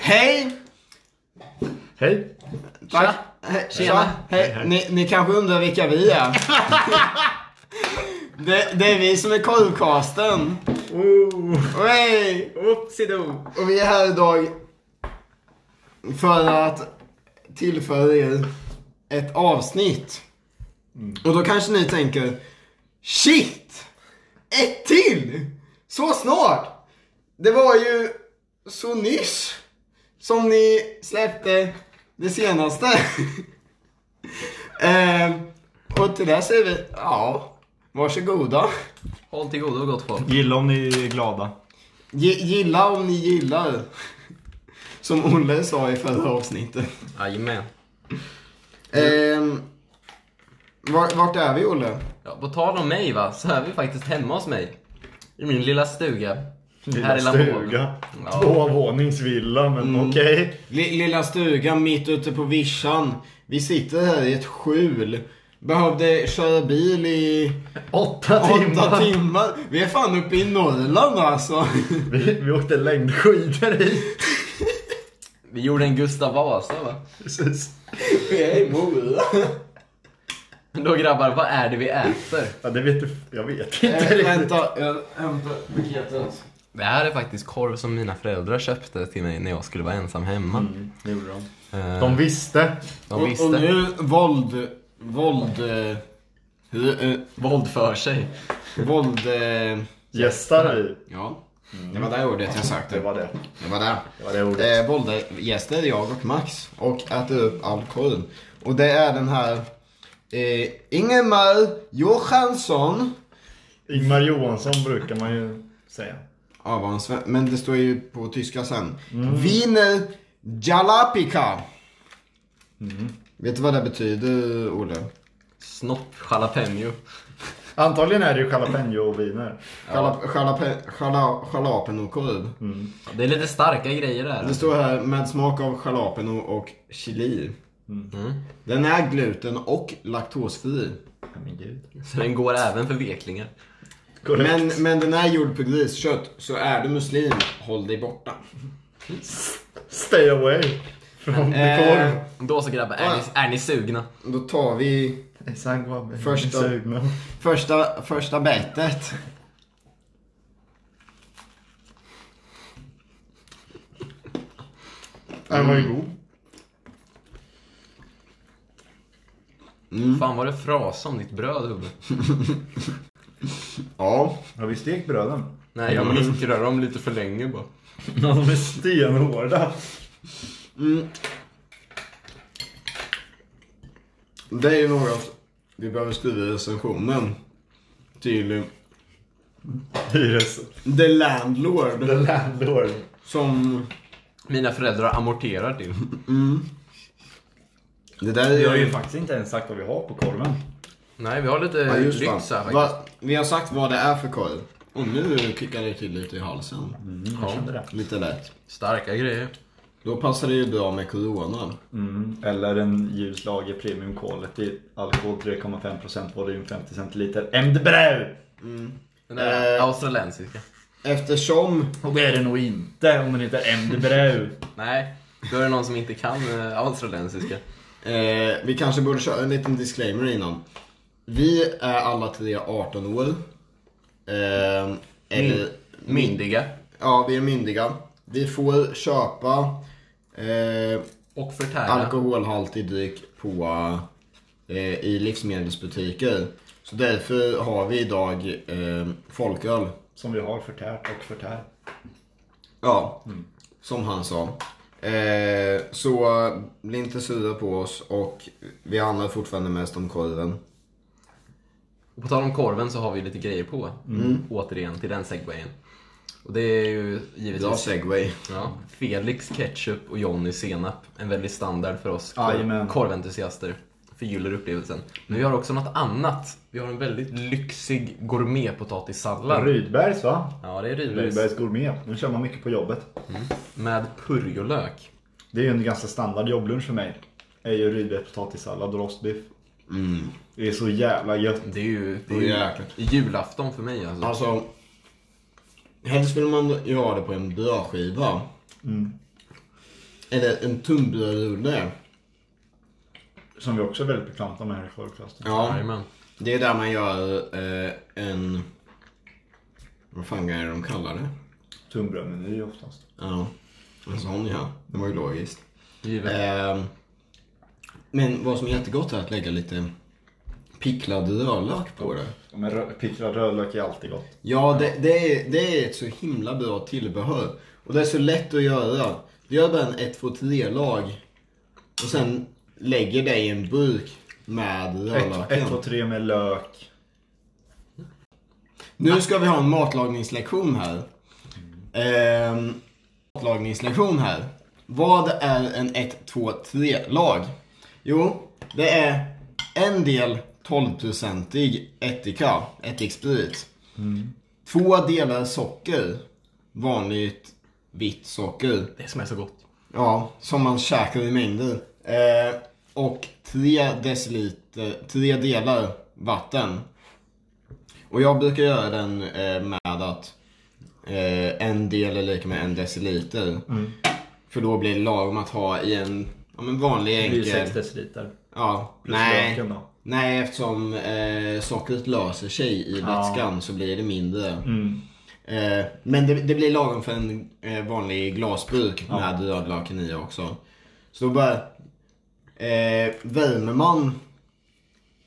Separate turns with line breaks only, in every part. Hej!
Hej.
Tack. Hej, Tjena. Hej. Ni, ni kanske undrar vilka vi är? det, det är vi som är korvcasten.
Oh,
Hej!
oopsie-doo.
Och vi är här idag för att tillföra er ett avsnitt. Och då kanske ni tänker Shit! Ett till! Så snart! Det var ju så nyss som ni släppte det senaste. eh, och till det säger vi ja, varsågoda.
Håll till godo gott folk.
Gilla om ni är glada.
G- gilla om ni gillar. Som Olle sa i förra avsnittet.
Jajamän.
Ehm, var, vart är vi Olle?
Ja, på tal om mig va, så är vi faktiskt hemma hos mig. I min lilla stuga.
Lilla
Här i Lamonten.
stuga.
Ja.
Tvåvåningsvilla, men okej.
Li- Lilla stugan mitt ute på vischan. Vi sitter här i ett skjul. Behövde köra bil i
Åtta
åtta
timmar.
timmar. Vi är fan uppe i Norrland alltså.
Vi, vi åkte längdskidor hit.
Vi gjorde en Gustav Vasa va.
Precis.
Vi är i Mora.
Men Då grabbar, vad är det vi äter?
Ja, det vet du. Jag vet
Eh,
inte riktigt.
Vänta, jag hämtar paketet.
Det här är faktiskt korv som mina föräldrar köpte till mig när jag skulle vara ensam hemma.
Mm, det gjorde de.
Eh,
De visste.
de
Och,
visste.
och nu våld, våld, eh, hur, eh,
Våld för sig.
våld, eh,
Gästar vi.
ja. Det var det ordet jag
Det
sökte.
var det.
Det var det.
Det var det ordet.
Eh, Bollgäster, jag och Max. Och äter upp all korv. Och det är den här eh, Ingemar Johansson.
Ingmar Johansson brukar man ju säga.
Ja, vad han sve- men det står ju på tyska sen.
Mm.
Wiener Jalapika.
Mm.
Vet du vad det betyder, Olle?
Snopp jalapeno.
Antagligen är det ju jalapeno-viner.
Jala, jalape, jala, jalapenokorv.
Det är lite starka grejer där.
Det står här med smak av jalapeno och chili. Mm. Den är gluten och laktosfri.
Ja, Men gud.
Så den går även för veklingar.
Korrekt.
Men, men den är gjord på griskött, så är du muslim, håll dig borta.
Stay away från
Eh,
korv.
Då så grabbar, är ni, är ni sugna?
Då tar vi
Exakt vad
Första- första, första betet.
Den var ju
Mm.
god.
Fan var det frasa om ditt bröd Hubbe?
Ja.
Har vi stekt bröden?
Nej jag mikrar dem lite för länge bara.
De är stenhårda.
Det är ju något vi behöver skriva i recensionen. Till eh,
Hyres...
The Landlord.
The landlord.
Som...
Mina föräldrar amorterar till.
Det där är
Vi har ju faktiskt inte ens sagt vad vi har på korven. Mm,
Nej vi har lite
Ja, just
lyx här
fan.
faktiskt.
Va, vi har sagt vad det är för korv. Och nu kickar det till lite i halsen.
Jag kände det.
Lite lätt.
Starka grejer.
Då passar det ju bra med corona.
Mm, Eller en ljus lager premium quality. Alkohol 3,5% volym 50 centiliter. MDBRAU!
Den där
Eh.
australiensiska.
Eftersom
Och det är det nog inte om den heter MDBRAU.
Nej, då är det någon som inte kan eh, australiensiska.
Eh, vi kanske borde köra en liten disclaimer innan. Vi är alla tre 18 år. Eh, eller,
Myndiga.
ja, vi är myndiga. Vi får köpa eh,
Och förtära.
alkoholhaltig dryck på, eh, i livsmedelsbutiker. Så därför har vi idag eh, folköl.
Som vi har förtärt och förtär.
Ja, som han sa. Eh, så eh, bli inte sura på oss och vi handlar fortfarande mest om korven.
Och på tal om korven så har vi lite grejer på.
Mm.
Återigen till den segwayen. Och det är ju
Bra
givetvis
segway.
ja, Felix ketchup och Johnny senap. En väldigt standard för oss
Jajamän.
kor- korventusiaster. Förgyller upplevelsen. Men vi har också något annat. Vi har en väldigt lyxig gourmetpotatissallad.
Rydbergs va?
Ja, det är rydbergs.
Rydbergs gourmet. Nu kör man mycket på jobbet.
Med purjolök.
Det är ju en ganska standard jobblunch för mig. Det är ju rydbergs potatissallad och rostbiff.
Mm.
Det är så jävla gött.
Det är ju, det är
Åh,
ju
jäklar.
julafton för mig alltså.
Alltså, Helst vill man göra det på en brödskiva. Eller en tunnbrödsrulle.
Som vi också är väldigt bekanta med här i Skördeklassen.
Ja,
Jajamän.
det är där man gör eh, en... Vad fan är det de kallar det?
Tunnbrödsmeny oftast.
Ja, en sån ja. Det var ju logiskt.
Givet.
Eh.
Ehm, men vad som är jättegott är att lägga lite picklad rödlök på det.
Ja, Men rö- picklad rödlök är alltid gott.
Ja, det, det, är, det är ett så himla bra tillbehör. Och det är så lätt att göra. Du gör bara en 1, 2, 3-lag. Och sen lägger det i en burk med
Ett,
rödlöken.
ett och tre med lök.
Nu ska vi ha en matlagningslektion här. Ehm, matlagningslektion här. Vad är en 1, 2, 3-lag? Jo, det är en del 12-procentig ättika, ättiksprit. Två delar socker, vanligt vitt socker.
Det som är så gott.
Ja, som man käkar i mängder. Eh, och tre deciliter, tre delar vatten. Och jag brukar göra den eh, med att eh, en del är lika med en deciliter.
Mm.
För då blir det lagom att ha i en ja, men vanlig
Det blir
enkel...
6 deciliter.
Ja,
Plus
nej.
löken då.
Nej, eftersom eh, sockret löser sig i
Ja.
vätskan så blir det mindre.
Mm.
Eh, men det, det blir lagom för en eh, vanlig glasburk med rödlöken i också. Så då bara eh, värmer man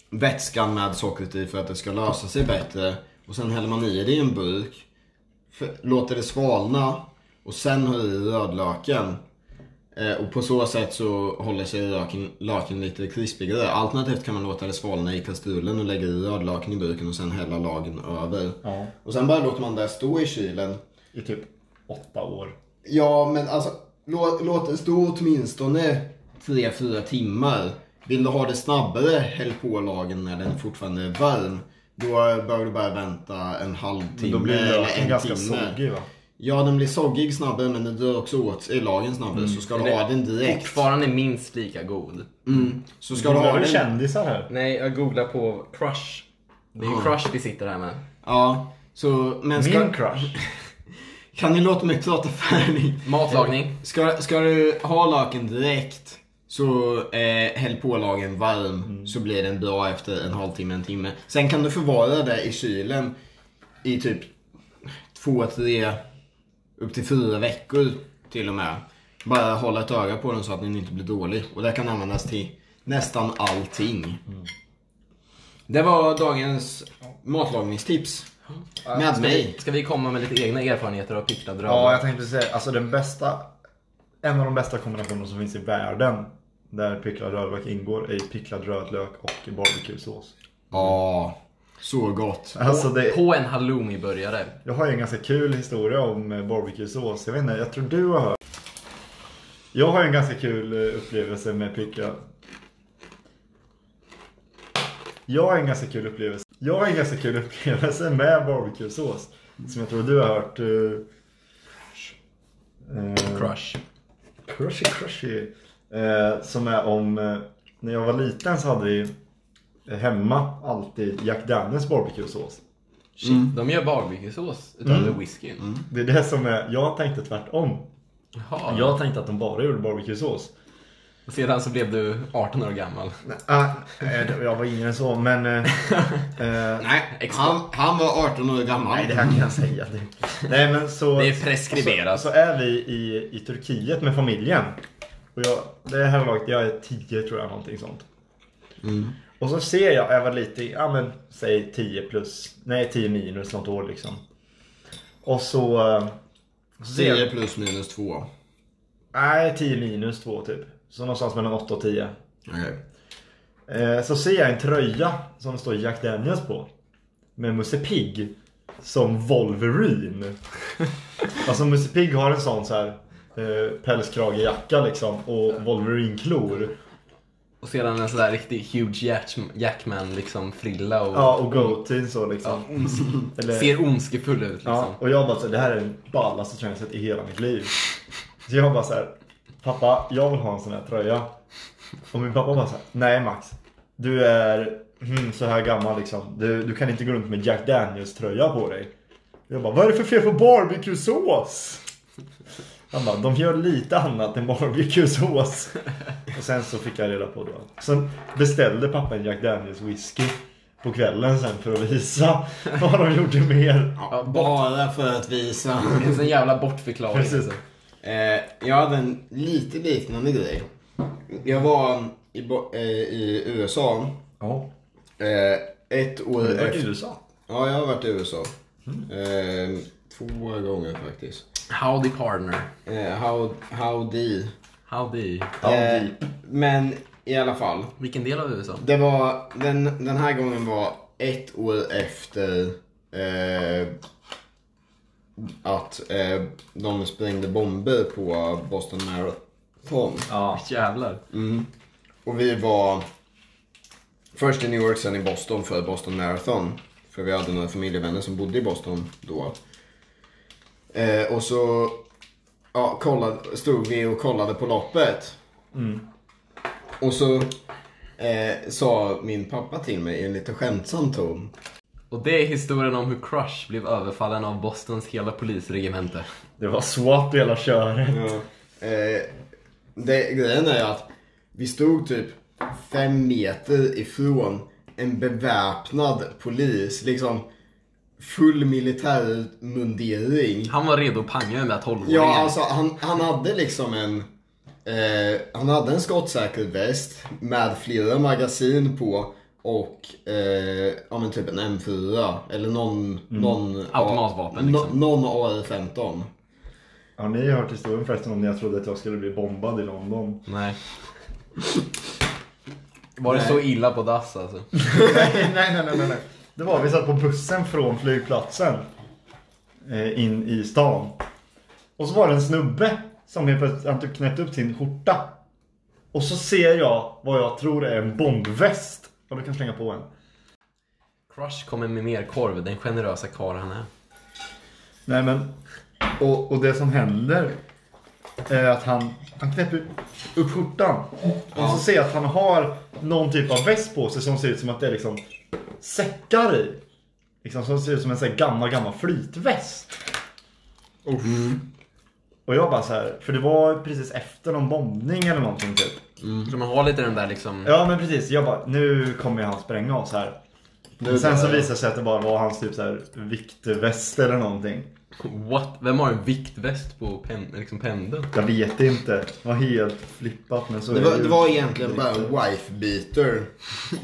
vätskan med sockret i för att det ska lösa sig bättre. Och sen häller man i det i en burk. För, låter det svalna och sen har i rödlöken. Eh, och på så sätt så håller sig löken, löken lite krispigare. Alternativt kan man låta det svalna i kastrullen och lägga i rödlöken i burken och sen hälla lagen över.
Ja.
Och sen bara låter man det stå i kylen.
I typ åtta år.
Ja, men alltså låt, låt det stå åtminstone 3-4 timmar. Vill du ha det snabbare, häll på lagen när den fortfarande är varm. Då behöver du bara vänta en halvtimme
Men då blir
eller
löken
en
ganska
timme.
soggig va?
Ja, den blir soggig snabbare men den dör också åt sig lagen snabbare.
Mm.
Så ska du
Men det-
ha den direkt.
Fortfarande minst lika god.
Mm. Så ska
Du
du
har
ha
väl
den.
kändisar här?
Nej, jag googlar på crush. Det är ju crush vi sitter här med.
Ja, så men ska,
Min crush.
kan ni låta mig prata färdigt?
Matlagning.
Ska, ska du ha laken direkt så eh, häll på lagen varm
Mm.
så blir den bra efter en halvtimme, en timme. Sen kan du förvara det i kylen i typ två, tre, upp till fyra veckor till och med. Bara hålla ett öga på den så att den inte blir dålig. Och det kan användas till nästan allting.
Mm.
Det var dagens matlagningstips. Med
ska,
mig.
Vi, ska vi komma med lite egna erfarenheter av picklad
Ja,
rödlök?
jag tänkte säga. Alltså den bästa. En av de bästa kombinationerna som finns i världen. Där picklad rödlök ingår är picklad rödlök och barbecuesås.
Ja, så gott.
Alltså det,
På en halloumi-burgare.
Jag har ju en ganska kul historia om eh, barbecuesås. Jag vet inte, jag tror du har hört. Jag har ju en ganska kul eh, upplevelse med picklad... Jag har en ganska kul upplevelse. Jag har en ganska kul upplevelse med barbecuesås. Som jag tror du har hört. Eh, eh,
Crush.
Crushy Crushy. Eh, som är om, eh, när jag var liten så hade vi hemma alltid Jack Daniels barbecuesås.
Shit,
Mm.
de gör barbecuesås utöver whiskyn.
Det är det som är, jag tänkte tvärtom.
Jaha.
Jag tänkte att de bara gjorde barbecuesås.
Och sedan så blev du 18 år gammal.
Ah, eh, jag var yngre än så, men... eh, eh,
Nej,
Expert.
han, han var 18 år gammal.
nej, det här kan jag säga. Det- Nej, men så,
Det är preskriberat.
Så, så är vi i, i Turkiet med familjen. Och jag, det här laget, jag är 10 tror jag, någonting sånt.
Mm.
Och så ser jag, jag var lite, ja men säg 10 plus, nej 10 minus något år liksom. Och så... eh, så ser
10
jag-
plus minus 2.
Nej, 10 minus 2 typ. Så någonstans mellan 8 och 10.
Okej.
Eh, Så ser jag en tröja som det står Jack Daniels på. Med Musse Pigg som Wolverine. alltså Musse Pigg har en sån så här eh, pälskragejacka liksom och Wolverine-klor.
Och sedan en sån där riktig huge Jack- Jackman liksom frilla och
Ja, och goatee så liksom. Eller-
ser ondskefull ut liksom.
Ja, och jag bara så här, det här är den ballaste tröjan jag sett i hela mitt liv. Så jag bara så här, pappa, jag vill ha en sån här tröja. Och min pappa bara så här, nej Max, du är hmm, så här gammal liksom. Du, du kan inte gå runt med Jack Daniels tröja på dig. Jag bara, vad är det för fel på barbecuesås? Han bara, de gör lite annat än barbecuesås. Och sen så fick jag reda på då. Sen beställde pappa en Jack Daniels whisky på kvällen sen för att visa vad de gjorde mer.
Ja, bara för att visa.
Det finns en jävla bortförklaring.
Precis.
Alltså.
Eh, jag hade en lite liknande grej. Jag var i, Bo- eh, i USA
Ja.
eh, ett år
Det var
efter.
i USA.
Ja, jag har varit i USA. Eh, två gånger faktiskt.
Howdy partner.
Eh, how, howdy.
Howdy.
Ja,
Eh,
vi-
men i alla fall.
Vilken del av USA?
Det var, den, den här gången var ett år efter eh, att eh, de sprängde bomber på Boston Marathon.
ja.
Jävlar.
Mm. Och vi var först i New York, sen i Boston för Boston Marathon. För vi hade några familjevänner som bodde i Boston då. Eh, och så ja, kollade, stod vi och kollade på loppet. Och så eh, sa min pappa till mig i en lite skämtsam ton.
Och det är historien om hur Crush blev överfallen av Bostons hela polisregemente.
Det var swap i hela köret.
Eh, det, grejen är att vi stod typ fem meter ifrån en beväpnad polis. Liksom full militärmundering.
Han var redo att panga med att hålla
Ja, alltså han, han hade liksom en... Eh, han hade en skottsäker väst med flera magasin på och eh, ja, men typ en M4 eller någon... någon
Mm. Automatvapen,
no-
liksom.
Någon AR-15.
Har ni hört historien förresten om när jag trodde att jag skulle bli bombad i London?
Nej. Var det så illa på dass alltså?
nej, nej, nej, nej, nej. Det var vi satt på bussen från flygplatsen eh, in i stan. Och så var det en snubbe som helt plötsligt han typ knäppte upp sin skjorta. Och så ser jag vad jag tror är en bombväst. Ja, du kan slänga på en.
Crush kommer med mer korv, den generösa karl han är.
Nej men. Och, och det som händer är att han, han knäpper upp skjortan. Och så ser jag att han har någon typ av väst på sig som ser ut som att det är liksom säckar i. Liksom som ser ut som en sån här gammal, gammal flytväst. Och jag bara så här, för det var precis efter någon bombning eller någonting typ.
Så man har lite den där liksom...
Ja men precis, jag bara nu kommer han spränga oss här. Men sen så visar det sig att det bara var hans typ så här viktväst eller någonting.
What? Vem har en viktväst på pen, liksom pendeln?
Jag vet inte. Det var helt flippat. Men så
Det
är
var,
ju-
det var egentligen bara en wife beater.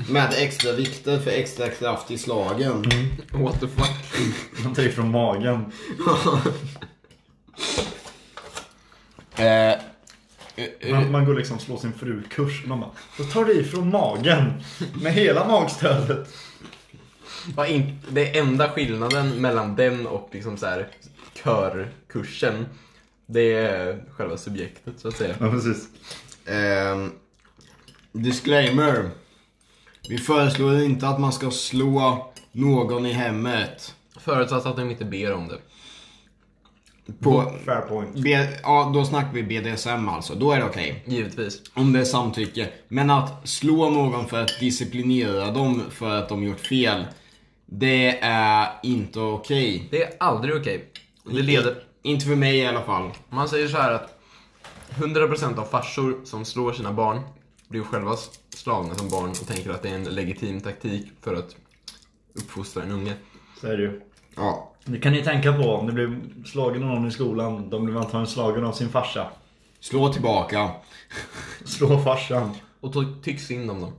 Med extra vikter för extra kraft i slagen.
What the fuck?
Han tar ifrån magen.
Eh, eh, eh,
Man, man går liksom slå sin frukurs. Man bara, då tar du ifrån magen. Med hela magstödet.
Vad in- det enda skillnaden mellan den och liksom så här körkursen, det är själva subjektet så att säga.
Ja precis.
ehm, disclaimer. Vi föreslår inte att man ska slå någon i hemmet.
Förutsatt att de inte ber om det.
På,
Fair point.
B, ja, då snackar vi BDSM alltså. Då är det okej.
Givetvis.
Om det är samtycke. Men att slå någon för att disciplinera dem för att de gjort fel. Det är inte okej.
Det är aldrig okej. Det leder...
Inte för mig i alla fall.
Man säger så här att 100% av farsor som slår sina barn blir själva slagna som barn och tänker att det är en legitim taktik för att uppfostra en unge.
Så är det ju.
Ja.
Det kan ni tänka på. Om ni blir slagen av någon i skolan. De blir antagligen slagen av sin farsa.
Slå tillbaka.
Slå farsan.
Och to- tyck synd om dem.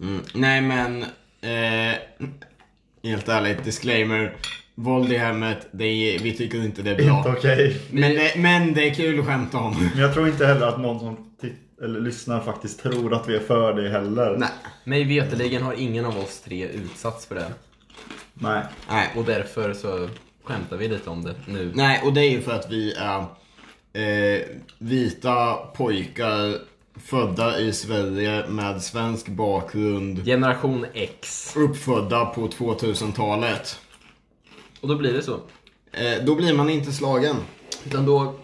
Mm. Nej men, eh, helt ärligt, disclaimer. Våld i hemmet, det är, vi tycker inte det är
Inte
bra.
okej.
Men det, men det är kul att skämta om.
Men jag tror inte heller att någon som titt- eller lyssnar faktiskt tror att vi är för det heller.
Nej.
Mig veterligen har ingen av oss tre utsatts för det.
Nej.
Nej.
Och därför så skämtar vi lite om det nu.
Nej, och det är ju för att vi är eh, vita pojkar födda i Sverige med svensk bakgrund.
Generation X.
Uppfödda på 2000-talet.
Och då blir det så.
Eh, då blir man inte slagen.
Utan då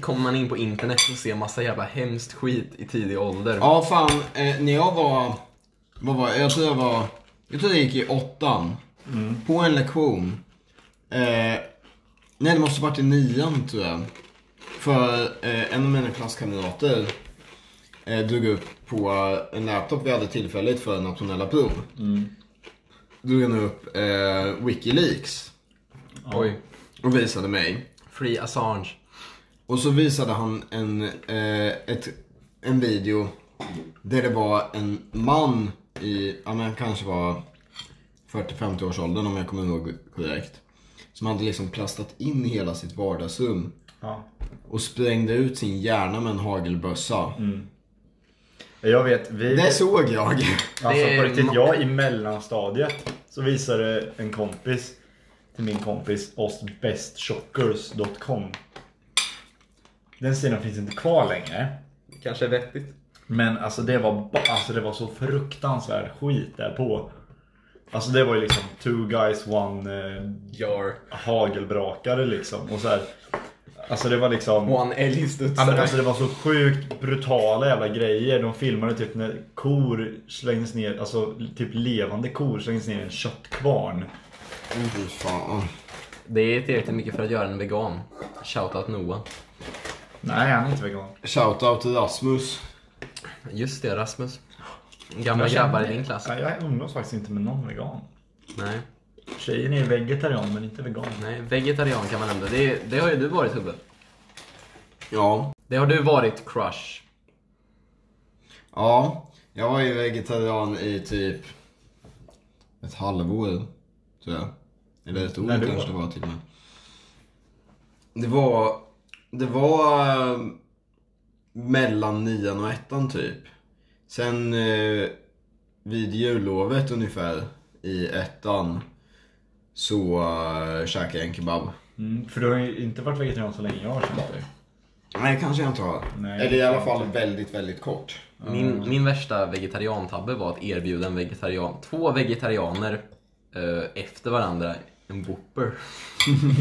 kommer man in på internet och ser massa jävla hemskt skit i tidig ålder.
Ja, fan. Eh, när jag var... Vad var jag? Jag tror jag var... Jag tror jag gick i åttan. På en lektion. Eh, Nej, det måste varit i nian tror jag. För eh, en av mina klasskamrater eh, drog upp på en laptop vi hade tillfälligt för nationella prov. Drog han upp eh, Wikileaks
Oj.
och visade mig.
Free Assange.
Och så visade han en, eh, ett, en video där det var en man i, ja men han kanske var 40-50 års åldern om jag kommer ihåg korrekt. Som hade liksom plastat in hela sitt vardagsrum
Ja.
och sprängde ut sin hjärna med en hagelbössa.
Jag vet, vi...
Det såg jag.
Alltså
Det är
på riktigt,
ma-
jag i mellanstadiet så visade en kompis till min kompis oss bestshockers.com. Den sidan finns inte kvar längre.
Kanske vettigt.
Men alltså det var, ba- alltså, det var så fruktansvärd skit där på. Alltså det var ju liksom two guys one eh,
Jar.
hagelbrakare liksom. Och så här, alltså det var liksom...
One
Ja, men
älgstudsare.
alltså det var så sjukt brutala jävla grejer. De filmade typ när kor slängdes ner, alltså typ levande kor slängdes ner i en köttkvarn.
Åh, fy fan.
Det är tillräckligt mycket för att göra en vegan. Shoutout Noah.
Nej, han är inte vegan.
Shoutout till Rasmus.
Just det, Rasmus. Gamla grabbar i din klass.
Ja, jag umgås faktiskt inte med någon vegan.
Nej,
Tjejen är vegetarian men inte vegan.
nej. Vegetarian kan man nämna. Det, det har ju du varit Hubbe.
Ja.
Det har du varit crush.
Ja. Jag var ju vegetarian i typ ett halvår. Tror jag. Eller ett år
När du
kanske det
var?
var till och med. Det var... Det var eh, mellan nian och ettan typ. Sen eh, vid jullovet ungefär i ettan så eh, käkade jag en kebab.
Mm, för du har ju inte varit vegetarian så länge jag har känt dig.
Nej, kanske jag inte har.
Nej.
Eller i alla fall väldigt, väldigt kort.
Min, min värsta vegetariantabbe var att erbjuda en vegetarian, två vegetarianer eh, efter varandra en Whopper.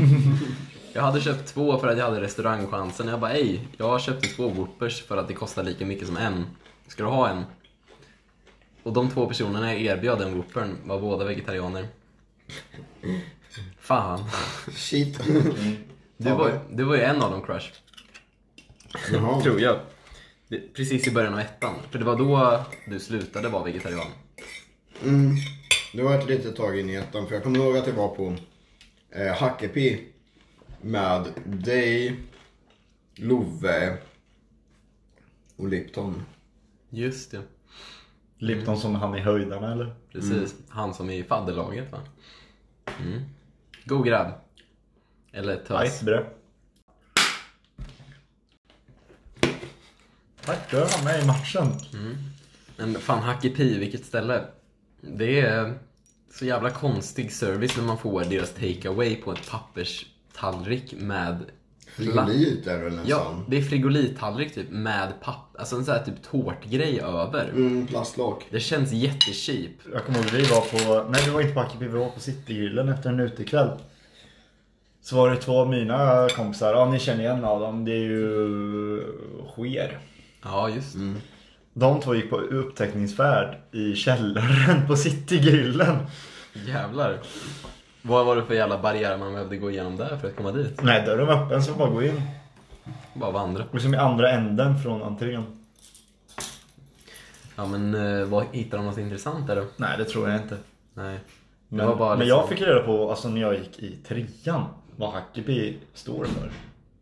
jag hade köpt två för att jag hade restaurangchansen. Jag bara, ej, jag köpte två Whoppers för att det kostar lika mycket som en. Ska du ha en? Och de två personerna jag erbjöd den Whoopern var båda vegetarianer. Fan.
Shit.
Du var, du var ju en av dem, Crush.
Jaha.
Tror jag. Det- Precis i början av ettan. För det var då du slutade vara vegetarian.
Mm. Det var ett litet tag in i ettan för jag kommer ihåg att jag var på eh, Hackepi med dig, Love och Lipton.
Just det.
Lipton som han i höjdarna eller?
Precis. Han som är i fadderlaget va? Mm. God grabb. Eller tös.
Icebrö. Tack, du var med i matchen.
Men fan, Hacky Pi, vilket ställe. Det är så jävla konstig service när man får deras takeaway på en papperstallrik med lapp.
Frigolit är det väl
Ja,
nästan?
det är frigolittallrik typ med papper, alltså en sån här typ tårtgrej över.
Mm, plastlak.
Det känns jättecheap.
Jag kommer ihåg vi var på, nej vi var inte på Akepi, vi var på Citygrillen efter en utekväll. Så var det två av mina kompisar, ja ni känner igen av dem, det är ju Sker.
Ja, just det.
De två gick på upptäckningsfärd i källaren på Citygrillen.
Jävlar. Vad var det för jävla barriär man behövde gå igenom där för att komma dit?
Nej, dörren var öppen så bara gå in.
Bara vandra.
Liksom i andra änden från entrén.
Ja men eh, vad hittar de något intressant där då?
Nej, det tror jag inte.
Nej. Det
Men,
var bara
men
liksom
jag fick reda på, alltså när jag gick i trean, vad Hackeby står för.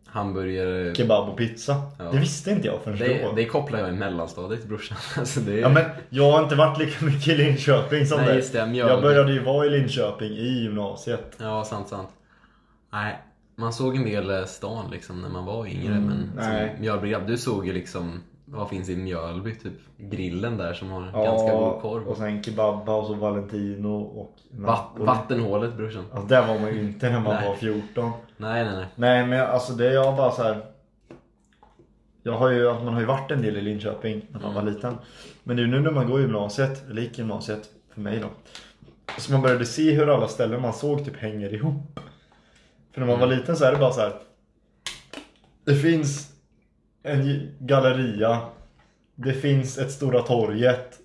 hamburgare.
Kebab och pizza.
Ja.
Det visste inte jag förrän då.
Det, det kopplar jag i mellanstadiet brorsan. Alltså det är...
Ja, men jag har inte varit lika mycket i Linköping som
Nej,
dig.
just det, mjöl.
jag började ju vara i Linköping i gymnasiet.
ja sant sant. Nej. Man såg en del eh, stan liksom när man var yngre men
Mm, nej.
som mjölbegrepp, du såg ju liksom vad finns i Mjölby typ? Grillen där som har
Ja,
ganska god korv.
Och sen kebabba och så Valentino och
Vatt,
Napoli.
vattenhålet brorsan.
Alltså, där var man ju inte när man
Nej.
var 14.
Nej nej nej.
Nej men jag- alltså det är jag bara så här. Jag har ju, man har ju varit en del i Linköping när man var liten. Men det är ju nu när man går i gymnasiet, eller gick i gymnasiet, för mig då. Så man började se hur alla ställen man såg typ hänger ihop. För när man var liten så är det bara så här. Det finns en galleria. Det finns ett Stora torget.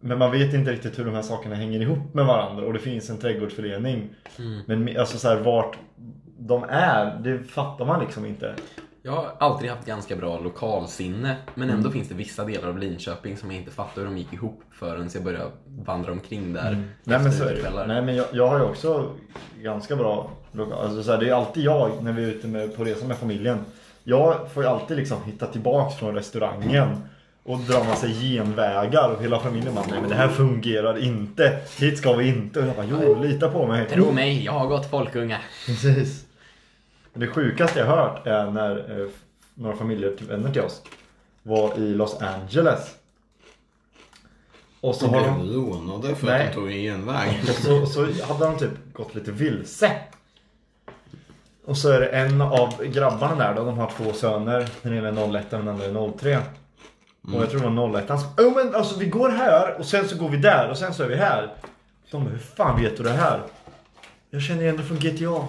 Men man vet inte riktigt hur de här sakerna hänger ihop med varandra och det finns en trädgårdsförening.
Mm.
Men me- alltså så här, vart de är, det fattar man liksom inte.
Jag har alltid haft ganska bra lokalsinne, men
Mm.
ändå finns det vissa delar av Linköping som jag inte fattar hur de gick ihop förrän jag började vandra omkring där.
Mm. Nej men
efter
så är det ju.
kvällar.
Nej men jag, jag har ju också ganska bra lokal. Alltså så här, det är ju alltid jag när vi är ute med, på resa med familjen. Jag får ju alltid liksom hitta tillbaks från restaurangen. Och drar man sig genvägar och hela familjen bara nej men det här fungerar inte. Hit ska vi inte. Och jag bara jo lita på mig.
Tro mig, jag har gått folkunga.
Precis. Men Det sjukaste jag hört är när eh, några familjer, till vänner till oss, var i Los Angeles. Och så,
Så
har
blev
de,
de rånade för
Nej.
att de tog en genväg.
och så, och så hade de typ gått lite vilse. Och så är det en av grabbarna där då, de har två söner. Den ena är 01 och den andra är 03. Och jag tror det var 01 som oh, men alltså vi går här och sen så går vi där och sen så är vi här. De bara, hur fan vet du det här? Jag känner igen det från GTA.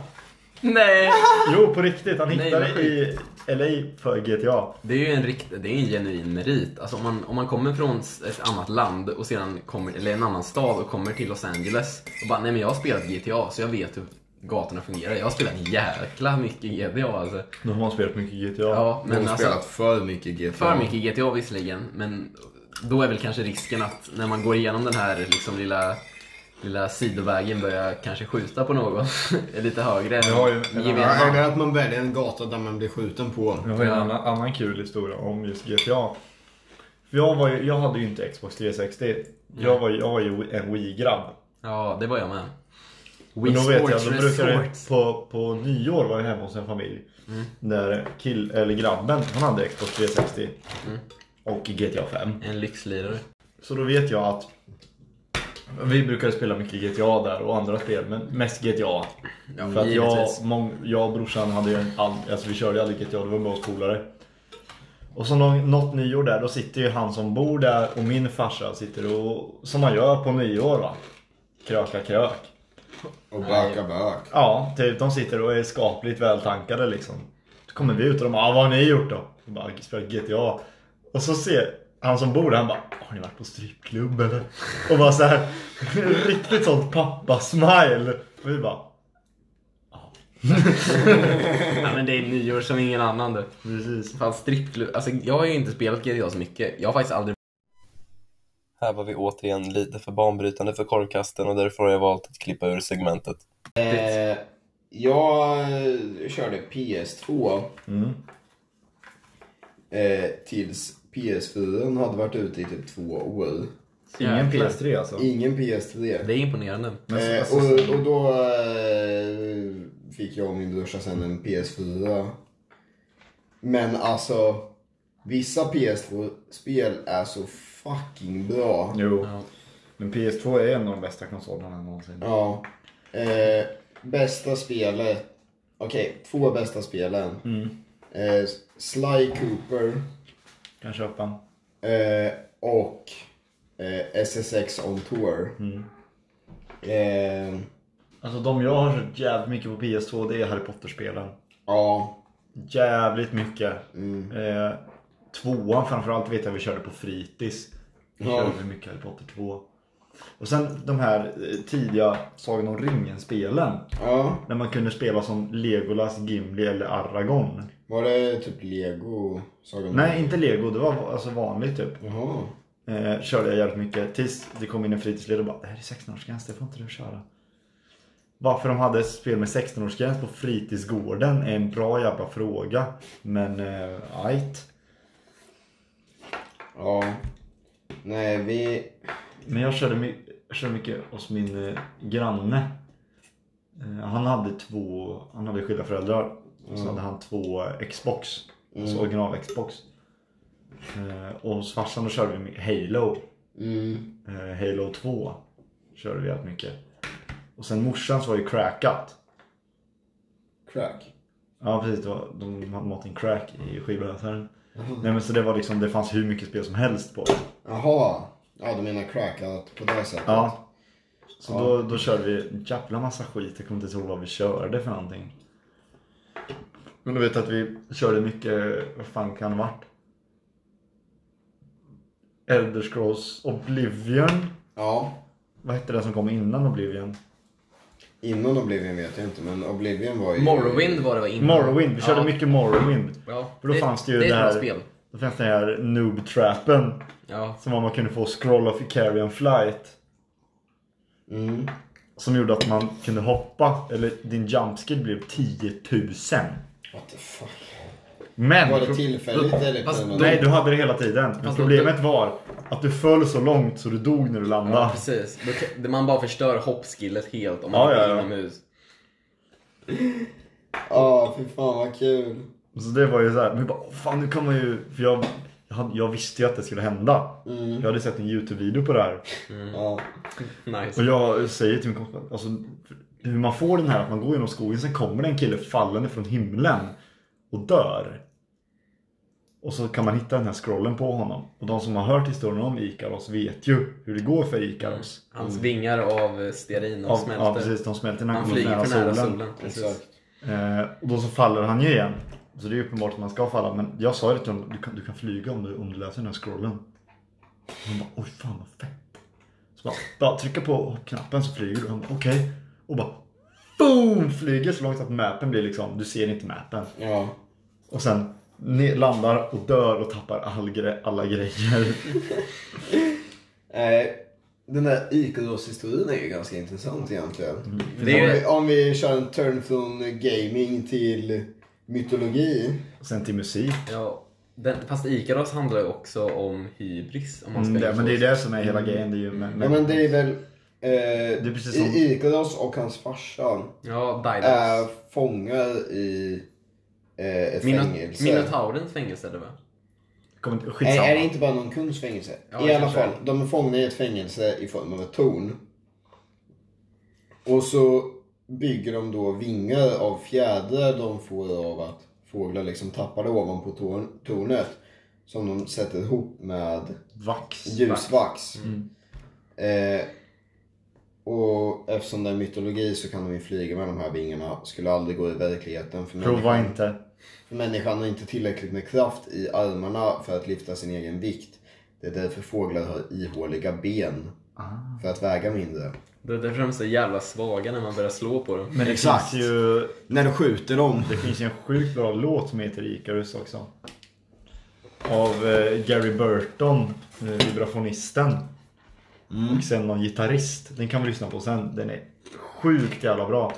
Nej!
Jo, på riktigt. Han
Nej,
hittade
vad
i
sjukt.
LA för GTA.
Det är ju en, rikt, det är en genuin merit. Alltså om, man, om man kommer från s- ett annat land, och sedan kommer, eller en annan stad, och kommer till Los Angeles och bara nej men jag har spelat GTA så jag vet hur gatorna fungerar. Jag har spelat jäkla mycket GTA alltså.
Nu har man spelat mycket GTA.
Ja,
Men
men
de har
alltså,
spelat för mycket GTA.
för mycket GTA visserligen, men då är väl kanske risken att när man går igenom den här liksom lilla, lilla sidovägen börjar kanske skjuta på någon lite högre än
Vi har ju-
gemene
Ja,
man.
eller att man väljer en gata där man blir skjuten på.
Jag har en annan, annan kul historia om just GTA. För jag, var ju, jag hade ju inte Xbox 360. Jag var, ju- jag var ju en Wii-grabb.
Ja, det var jag med.
Men
Wii
då vet jag,
Sports
då brukar det,
Resort.
på, på nyår var jag hemma hos en familj.
Mm.
Där kill, eller grabben, han hade Xbox 360.
Mm.
Och GTA 5.
En lyxlirare.
Så då vet jag att vi brukade spela mycket GTA där och andra spel, men mest GTA.
Ja,
För att jag,
givetvis.
mång, jag och brorsan hade ju aldrig, alltså vi körde ju aldrig GTA, det var bara oss polare. Och så någon, något nyår där, då sitter ju han som bor där och min farsa sitter och, som man gör på nyår va. Kröka krök.
Och böka bök.
Ja, typ de sitter och är skapligt vältankade liksom. Då kommer vi ut och de bara, ah, vad har ni gjort då? Jag bara, spelat GTA. Och så ser han som bor där, han bara, har ni varit på strippklubb eller? Och bara så här, riktigt sånt pappa-smile. Och vi bara,
Ja, men det är nyår som ingen annan du.
precis.
Fan, strippklubb. Alltså, jag har ju inte spelat GTA så mycket. Jag har faktiskt aldrig...
Här var vi återigen lite för banbrytande för korvkasten och därför har jag valt att klippa ur segmentet.
Eh, jag eh, körde PS2
Mm.
eh, tills PS4 hade varit ute i typ två år.
Ingen PS3 alltså.
Ingen PS3.
Det är imponerande.
Men,
Eh,
alltså,
och, och då eh, fick jag och min brorsa sen en PS4. Men alltså, vissa PS2-spel är så fucking bra.
jo.
Ja.
Men PS2 är en av de bästa konsolerna någonsin.
Ja. Eh, bästa spelet. Okej, två bästa spelen.
Mm.
Eh, Sly Cooper
Kan köpa en.
eh, och eh, SSX on Tour.
Mm.
Eh,
Alltså de jag har så jävligt mycket på PS2 det är Harry Potter-spelen.
ja. mm,
Jävligt mycket. Eh, tvåan framförallt vet jag vi körde på fritids. Vi
Ja.
körde mycket Harry Potter 2. Och sen de här eh, tidiga Sagan om ringen-spelen.
ja.
När man kunde spela som Legolas, Gimli eller Aragorn.
Var det typ Lego? Sagan om-
Nej, inte Lego. Det var alltså vanligt typ.
Jaha.
Eh, körde jag jävligt mycket tills det kom in en fritidsledare och bara Det här är 16-årsgräns, det får inte du köra. Varför de hade ett spel med 16-årsgräns på fritidsgården är en bra jävla fråga. Men eh, ajt.
Ja. Nej, vi...
Men jag körde, my- jag körde mycket hos min eh, granne. Eh, han hade två, han hade skilda föräldrar. Och så hade han två eh, Xbox. Alltså original Xbox. Eh, och hos farsan då körde vi mycket Halo.
Mm.
Eh, Halo 2 körde vi jävligt mycket. Och sen morsans var ju crackat.
Crack.
Ja precis, det var, de hade matat in crack i skivläsaren.
Mm.
Nej men så det var liksom, det fanns hur mycket spel som helst på det.
Jaha. Ja, du menar crackat på det sättet?
Ja. Så Då, då körde vi en jävla massa skit, jag kommer inte ihåg vad vi körde för någonting. Men du vet att vi körde mycket, vad fan kan det ha varit? Elder Scrolls Oblivion.
Ja.
Vad hette det som kom innan Oblivion?
Innan Oblivion vet jag inte, men Oblivion var ju...
Morrowind var det va? innan?
Morrowind. Vi körde
Mm. Ja.
mycket Morrowind.
Ja.
För då fanns det ju
det
det
är ett
här-
bra spel.
Då fanns den här noob-trappen.
Ja.
Som var man kunde få scroll of Icarian flight.
Mm.
Som gjorde att man kunde hoppa. Eller din jump skill blev 10 000.
What the fuck.
Men...
Var det tillfälligt eller?
Fast
permanent?
Nej, du hade det hela tiden. Men
Fast
problemet var att du föll så långt så du dog när du
ja,
landade.
precis. Då kan- det- Man bara förstör hoppskillet helt om man
Ja,
ja,
ja, ja.
inomhus.
Ja, fy fan vad kul.
Så det var ju så här, men jag bara, "Åh, fan nu kan man ju... För jag, jag, hade, jag visste ju att det skulle hända.
Mm.
Jag hade sett en YouTube-video på det här.
Ja.
Nice.
Och jag säger till min kompis, alltså, hur man får den här, att man går genom skogen, sen kommer det en kille fallande från himlen och dör. Och så kan man hitta den här scrollen på honom. Och de som har hört historien om Ikaros vet ju hur det går för Ikaros.
Hans vingar av eh, stearin och
Ja,
Mm. smälter.
Mm. ja precis, de smälter när han
Han
kommer
flyger
nära
för nära
solen.
solen. precis.
Exakt.
Eh, och då så faller han ju igen. Så det är ju uppenbart att man ska falla. Men jag sa ju till honom, du kan, du kan flyga om du, om du läser den här scrollen. Och han bara, oj fan vad fett. Så bara, bara trycka på knappen så flyger du. Han bara, okej. Och bara, boom! Flyger så långt att mappen blir liksom, du ser inte mappen.
Ja.
Och sen ner, landar och dör och tappar all gre- alla grejer.
Eh, den där Ikaros-historien är ju ganska intressant egentligen.
Mm.
Det är
Om,
ju-
vi, om vi kör en turn från gaming till mytologi.
Sen till musik.
Ja, den, fast Ikaros handlar ju också om hybris. Om man ska
Mm, det, men det är
förstå.
det som är hela grejen. Det är ju med,
Ja, men det är väl... Eh,
Det är precis som-
I- Ikaros och hans farsa
Ja, Daidalos.
är fångar i eh, ett
Minot-
fängelse.
Minotaurens fängelse är det va?
Kommer inte-
Nej,
Skitsamma.
är det inte bara någon kungs fängelse?
Ja,
I alla
kanske.
fall, de är fångna i ett fängelse i form av ett torn. Och så bygger de då vingar av fjädrar de får av att fåglar liksom tappar det ovanpå torn, tornet. Som de sätter ihop med
Vax.
ljusvax.
Mm.
Eh, och eftersom det är mytologi så kan de ju flyga med de här vingarna. Skulle aldrig gå i verkligheten. För
Prova
människan.
inte.
Människan har inte tillräckligt med kraft i armarna för att lyfta sin egen vikt. Det är därför fåglar har ihåliga ben. För att väga mindre.
Det är därför de är så jävla svaga när man börjar slå på dem.
Men det
Exakt.
finns ju
När du skjuter dem.
Det finns ju en sjukt bra låt som heter Icarus också. Av eh, Gary Burton, eh, vibrafonisten.
Mm.
Och sen någon gitarrist. Den kan vi lyssna på sen. Den är sjukt jävla bra.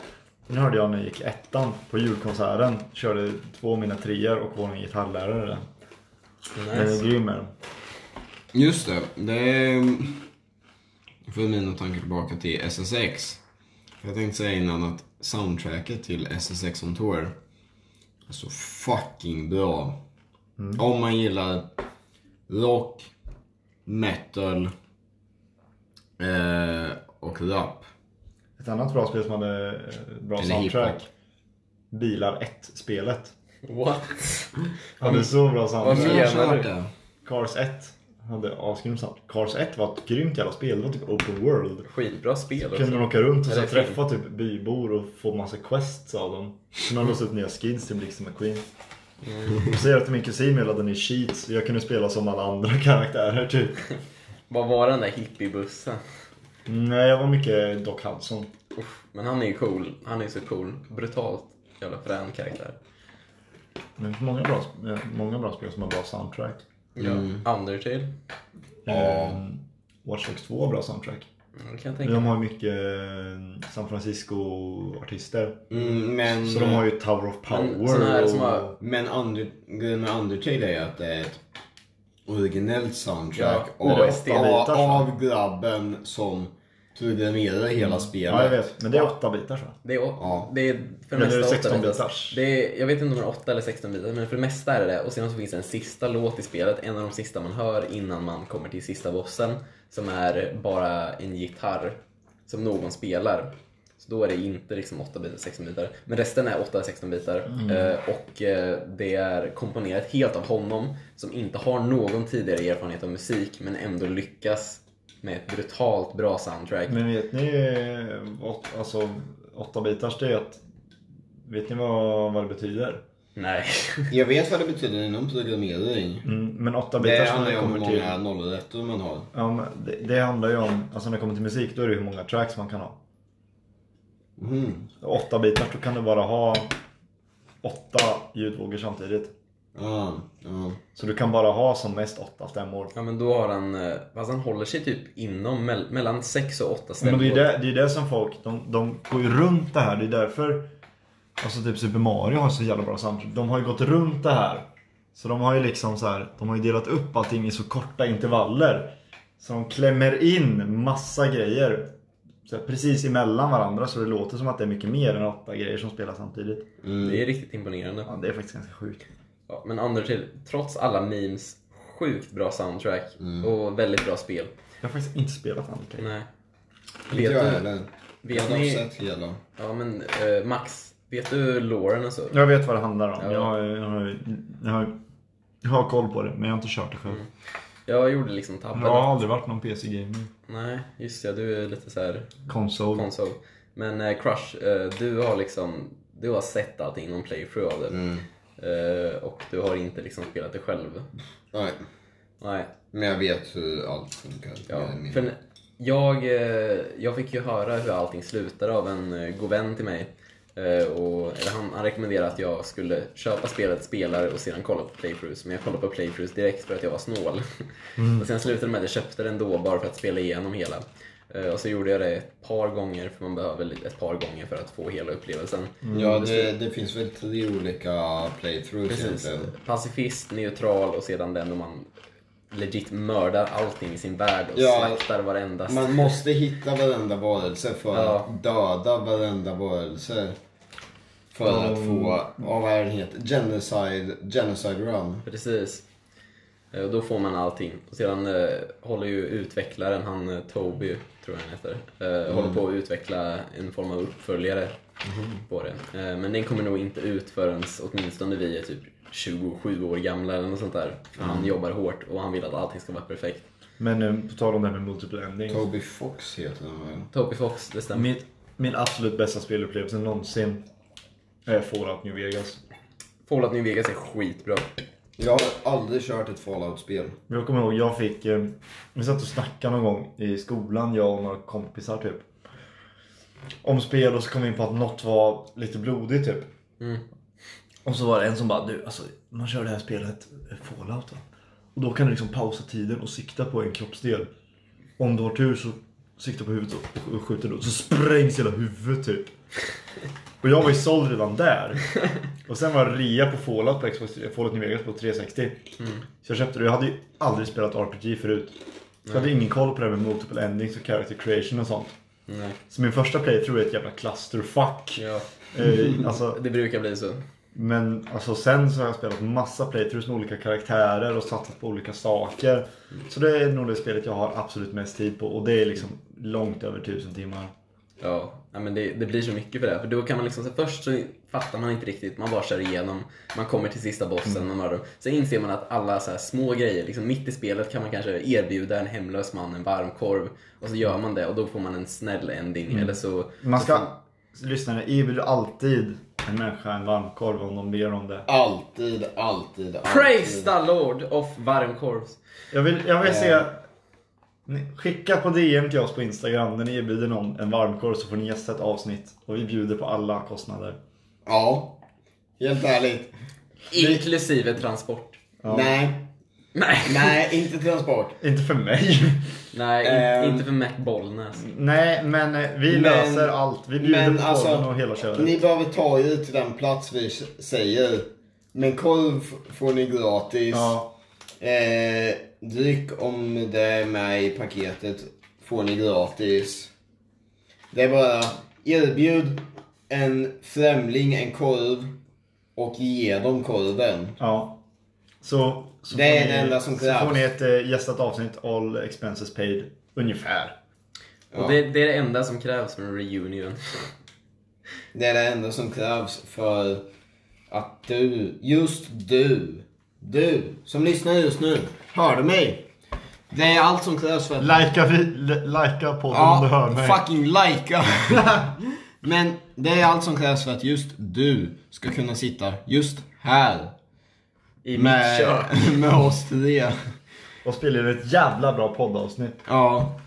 Den hörde jag när jag gick i ettan på julkonserten. Körde två av mina treor och vår gitarrlärare. den. Den är
Nice.
grym är den.
Just det. Det är... För mina tankar tillbaka till SSX. Jag tänkte säga innan att soundtracket till SSX on Tour är så fucking bra. Om man gillar rock, metal eh, och rap.
Ett annat bra spel som hade eh, bra
Eller
soundtrack. Bilar 1-spelet.
What?
Hade så bra
Vad
soundtrack.
menar du?
Cars 1 hade asgrym soundtrack. Cars 1 var ett grymt jävla spel. Det var typ open world.
Skitbra spel
Kunde man
också.
åka runt och
Eller
så
film.
träffa typ bybor och få massa quests av dem. Kunde man låsa upp nya skins till Blixten McQueen. Mm. Säger att min kusin jag laddade ner cheats. Jag kunde spela som alla andra karaktärer typ.
Vad var den där hippiebussen?
Mm, Nej, jag var mycket Doc Hudson.
Uff, Men han är ju cool. Han är så cool. Brutalt jävla frän karaktär.
Men det finns många bra, eh, många bra spel som har bra soundtrack.
Ja.
Mm.
Undertale. Mm,
Eh, Watch Dogs 2 har bra soundtrack.
Ja, Det kan jag tänka
De
mig.
har mycket eh, San Francisco-artister.
Mm, men...
Så de har ju Tower of Power.
Men såna här som har-
och-
Men under, grejen med Undertale är att det är ett originellt soundtrack
Ja, det är
av,
stenbitar,
av,
så.
av grabben som programmerar
Mm.
hela spelet.
Ja, jag vet. Men det är åtta bitar så.
Det är,
Ja.
det är för det
Eller är det
mesta
16
åtta
bitars?
Det är, jag vet inte om det är 8 eller 16 bitar, men för det mesta är det det. Och sen så finns det en sista låt i spelet, en av de sista man hör innan man kommer till sista bossen, som är bara en gitarr som någon spelar. Så då är det inte liksom 8 bitar, 16 bitar. Men resten är 8 eller 16 bitar. Eh, och eh, det är komponerat helt av honom, som inte har någon tidigare erfarenhet av musik, men ändå lyckas med ett brutalt bra soundtrack.
Men vet ni, eh, åt, alltså åtta bitars det är att, vet ni vad, vad det betyder?
Nej.
Jag vet vad det betyder inom programmering.
Mm, men
Det
8-bitars
handlar
när
ju
det
om hur
kommer
många
till...
nollor och ettor man har.
Ja, men det, det handlar ju om, alltså när det kommer till musik då är det ju hur många tracks man kan ha.
Mm.
8-bitars då kan du bara ha åtta ljudvågor samtidigt.
Ja, ja.
Så du kan bara ha som mest åtta stämmor.
Ja men då har han, eh, fast han håller sig typ inom, mell- mellan 6 och 8 stämmor.
Men det är ju det, det, är det som folk, de, de går ju runt det här. Det är därför alltså typ Super Mario har så jävla bra soundtrack. De har ju gått runt det här. Så de har ju liksom så här, de har ju delat upp allting i så korta intervaller. Så de klämmer in massa grejer så här, precis emellan varandra så det låter som att det är mycket mer än åtta grejer som spelas samtidigt.
Mm.
Det är riktigt imponerande.
Ja, det är faktiskt ganska sjukt.
Ja, men Anders, trots alla memes, sjukt bra soundtrack
Mm.
och väldigt bra spel.
Jag har faktiskt inte spelat Annika.
Nej.
Inte jag
Vet du,
heller. Jag
vet
har dock
ni,
sett hela.
ja men eh, Max, vet du låren och så?
Jag vet vad det handlar om.
Ja.
Jag, har, jag, har, jag, har, jag har koll på det men jag har inte kört det själv.
Jag gjorde liksom
Mm. Jag
tabben.
har aldrig varit någon PC-gamer.
Nej, just ja, du är lite så här
Konsol.
konsol. Men eh, Crush, eh, du har liksom, du har sett allting, någon playthrough av det.
Mm.
Eh, och du har inte liksom spelat det själv.
Nej,
Nej,
men jag vet hur allt funkar.
Ja,
mer eller mindre.
för n- jag, eh, jag fick ju höra hur allting slutar av en eh, god vän till mig. Eh, Och, eller han, han rekommenderade att jag skulle köpa spelet, spela det och sedan kolla på playthroughs. Men jag kollade på playthroughs direkt för att jag var snål.
Mm.
och sen slutade det med att jag köpte den då bara för att spela igenom hela. Eh, Och så gjorde jag det ett par gånger, för man behöver li- ett par gånger för att få hela upplevelsen.
Ja, det, det finns väl tre olika playthroughs
Mm, Precis.
egentligen.
Pacifist, neutral och sedan den då man legit mördar allting i sin värld och
Ja,
slaktar varenda
Man måste hitta varenda varelse för
Ja.
att döda varenda varelse. För att
Mm.
få, ja, vad är den heter? Genocide, genocide run.
Precis. Eh, Och då får man allting. Och sedan eh, håller ju utvecklaren, han eh, Toby, tror jag han heter, eh, håller på att utveckla en form av uppföljare på det. Eh, men den kommer nog inte ut förrän åtminstone vi är typ 27 år gamla eller något sånt där. För han jobbar hårt och han vill att allting ska vara perfekt.
Men eh, på tal om det här med multiple endings.
Toby Fox heter den väl?
Toby Fox, det stämmer.
Min, min absolut bästa spelupplevelse någonsin är Fallout New Vegas.
Fallout New Vegas är skitbra.
Jag har aldrig kört ett Fallout-spel.
Jag kommer ihåg, jag fick... eh, Vi satt och snackade någon gång i skolan, jag och några kompisar typ. Om spel och så kom vi in på att något var lite blodigt typ.
Mm.
Och så var det en som bara, du alltså man kör det här spelet eh, Fallout va? Och då kan du liksom pausa tiden och sikta på en kroppsdel. Om du har tur så siktar på huvudet och- och skjuter då. Så sprängs hela huvudet typ. Och jag var ju såld redan där. Och sen var det rea på Fallout på Xbox, Fallout New Vegas på 360.
Mm.
Så jag köpte det. Jag hade ju aldrig spelat RPG förut. Så jag hade ingen koll på det här med multiple endings och character creation och sånt.
Nej.
Så min första playthrough är ett jävla clusterfuck.
Ja,
Eh, alltså,
det brukar bli så.
men alltså sen så har jag spelat massa playthroughs med olika karaktärer och satsat på olika saker. Så det är nog det spelet jag har absolut mest tid på och det är liksom långt över tusen timmar.
Ja, ja, men det, det blir så mycket för det. här. För då kan man liksom, så här, först så fattar man inte riktigt, man bara kör igenom, man kommer till sista bossen,
Mm.
man mördar dem. Sen inser man att alla så här små grejer, liksom mitt i spelet kan man kanske erbjuda en hemlös man en varmkorv. Och så gör man det och då får man en snäll ending. Eller så,
Mm. Man
så
Alltså-
får-
ska, lyssnarna, erbjuder alltid en människa en varmkorv om de ber om det.
Alltid, alltid, alltid.
Praise the Lord of varmkorvs.
Jag vill, jag vill
Eh.
se... Ni- Skicka på DM till oss på Instagram när ni erbjuder någon en varmkorv så får ni gästa ett avsnitt. Och vi bjuder på alla kostnader.
Ja, helt ärligt.
Inklusive transport.
Nej,
Nej,
nej, inte transport.
Inte för mig.
nej in-
Ehm.
inte för Matt Bollnäs.
Nej, men eh, vi
Men-
löser allt. Vi bjuder
Men
på
alltså,
korven och hela köret.
Ni behöver ta er till den plats vi s- säger. Men korv f- får ni gratis.
Ja,
Eh, dryck om det är med i paketet får ni gratis. Det är bara erbjud en främling en korv och ge dem korven.
ja. Så, så
Det är
får ni-
det enda som
så
krävs.
får ni ett eh, gästat avsnitt, all expenses paid. Ungefär.
Ja.
Och det, det är det enda som krävs för en reunion.
Det är det enda som krävs för att du, just du, du som lyssnar just nu, hör du mig? Det är allt som krävs för att...
Likea likea podden om du hör mig.
fucking likea. Men det är allt som krävs för att just du ska kunna sitta just
här.
I mitt
Med,
kök.
med oss tre.
Och spelar in ett jävla bra poddavsnitt.
Ja.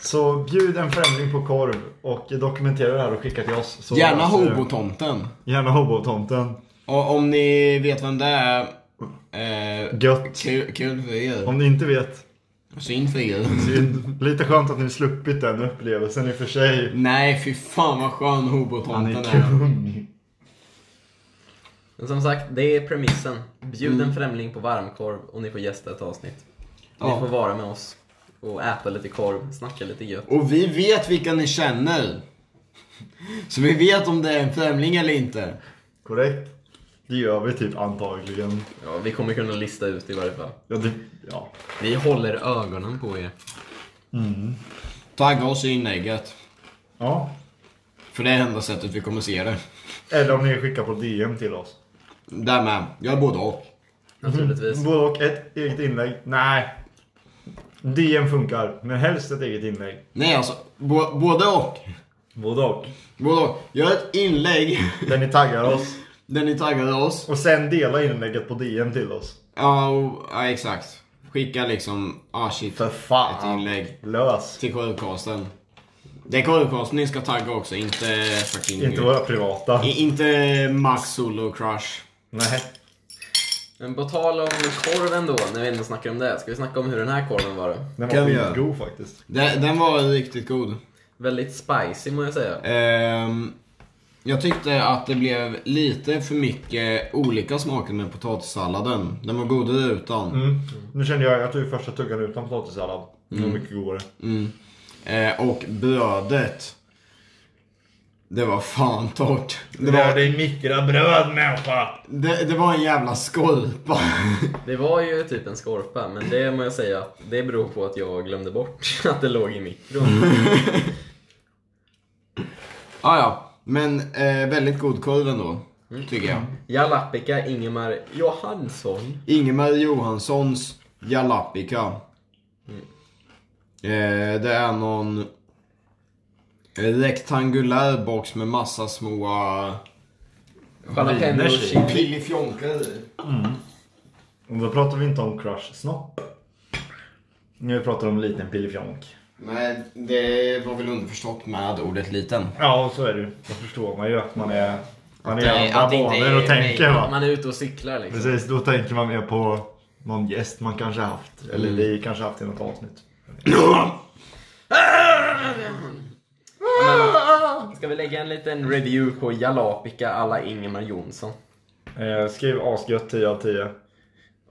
Så bjud en främling på korv och dokumentera det här och skicka till oss. Så
Gärna
löser det.
hobotomten.
Gärna hobotomten.
Och om ni vet vem det är. Eh,
Gött.
kul, kul för er.
Om ni inte vet.
Synd för er.
synd. Lite skönt att ni sluppit den upplevelsen i och för sig.
Nej, fy fan vad skön
Han är
hobotomten är.
kung.
Men som sagt, det är premissen. Bjud en främling på varmkorv och ni får gästa ett avsnitt. Ni
Ja.
får vara med oss och äta lite korv, snacka lite gött.
Och vi vet vilka ni känner. Så vi vet om det är en främling eller inte.
Korrekt. Det gör vi typ antagligen.
Ja, vi kommer kunna lista ut i varje fall.
Ja, det, ja.
Vi håller ögonen på er.
Tagga oss i inlägget.
ja.
För det är enda sättet vi kommer se det.
Eller om ni skickar på DM till oss.
Därmed, jag är både och.
Naturligtvis.
Både och ett eget inlägg. Nej. DM funkar, men helst ett eget inlägg.
Nej alltså, bo- både och.
Både och.
Både och. Gör ett inlägg
Där ni taggar oss.
där ni taggade oss.
Och sen dela inlägget på DM till oss.
Ja, och, ja exakt. Skicka liksom, ah shit,
För
ett
fan.
inlägg
Lös.
till korvkasten. Det är korvkasten ni ska tagga också, inte fucking...
Inte våra privata.
I- inte Max Solo Crush.
Nej.
Men på tal om korven då, när vi ändå snackar om det. Ska vi snacka om hur den här korven var då?
Den
Kan
var
vi göra.
skitgod faktiskt.
Den, den var riktigt god.
Väldigt spicy må jag säga.
Ehm, jag tyckte att det blev lite för mycket olika smaker med potatissalladen. Den var godare utan.
Mm. Nu kände jag, jag tog första tuggan utan potatissallad. Det var
Mm.
mycket godare.
Eh, och brödet. Det var fan torrt. Det
Rör
var,
dig i mikrobröd människa!
det, det var en jävla skorpa.
Det var ju typ en skorpa, men det må jag säga att det beror på att jag glömde bort att det låg i mikron.
ah, ja, men eh, väldigt god korv ändå.
Mm.
Tycker jag.
Jalapika Ingemar Johansson.
Ingemar Johanssons Jalapika.
Mm.
Eh, det är någon rektangulär box med massa små
Jalapeno
Viner
och
sig.
chili.
pillifjonkar i.
Och då pratar vi inte om crush snopp. Nu pratar vi om liten pillefjonk.
Nej, det var väl underförstått med ordet liten.
Ja, så är det ju. Då förstår man ju att man är... Man är
Att det-
i andra
att det inte
banor och
är
tänker
mig.
va.
Man är ute och cyklar liksom.
Precis, då tänker man mer på någon gäst man kanske haft. Eller vi kanske haft i något avsnitt.
Ska vi lägga en liten review på Jalapika alla Ingemar Jonsson?
Eh, skriv asgött 10 av 10.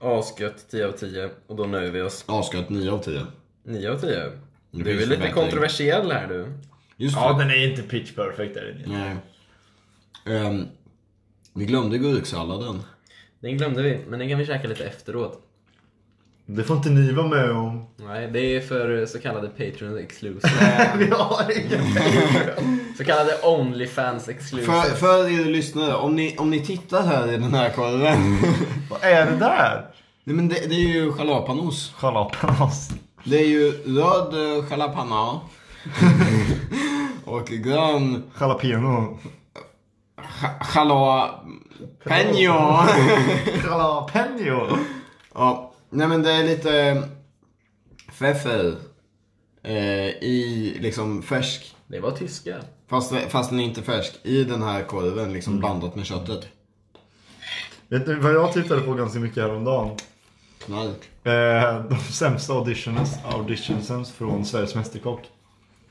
Asgött 10 av 10 och då nöjer vi oss.
Asgött 9 av 10.
9 av 10.
Det
Du är
finns
lite
förbättring.
kontroversiell här du.
Just
Ja,
det.
den är inte pitch perfect är den inte.
Nej. Ehm, vi glömde gurksalladen.
Den glömde vi, men den kan vi käka lite efteråt.
Det får inte ni vara med om.
Nej, det är för eh, så kallade Patreon exclusive.
Vi har ingen
så kallade Onlyfans exclusive.
För, för er lyssnare, om ni, om ni tittar här i den här korven.
Vad är det där?
Nej men det, det är ju jalapenos.
Jalapenos.
Det är ju röd eh, jalapeno. och grön
Jalapeno.
ja- jalapeno.
Jalapeno.
ja, nej men det är lite feffel. Eh, I liksom färsk,
Det var tyska.
fast, fast den är inte färsk, i den här korven liksom blandat med köttet.
Vet du vad jag tittade på ganska mycket häromdagen?
Knark.
Eh, de sämsta auditions, auditionsen från Sveriges Mästerkock.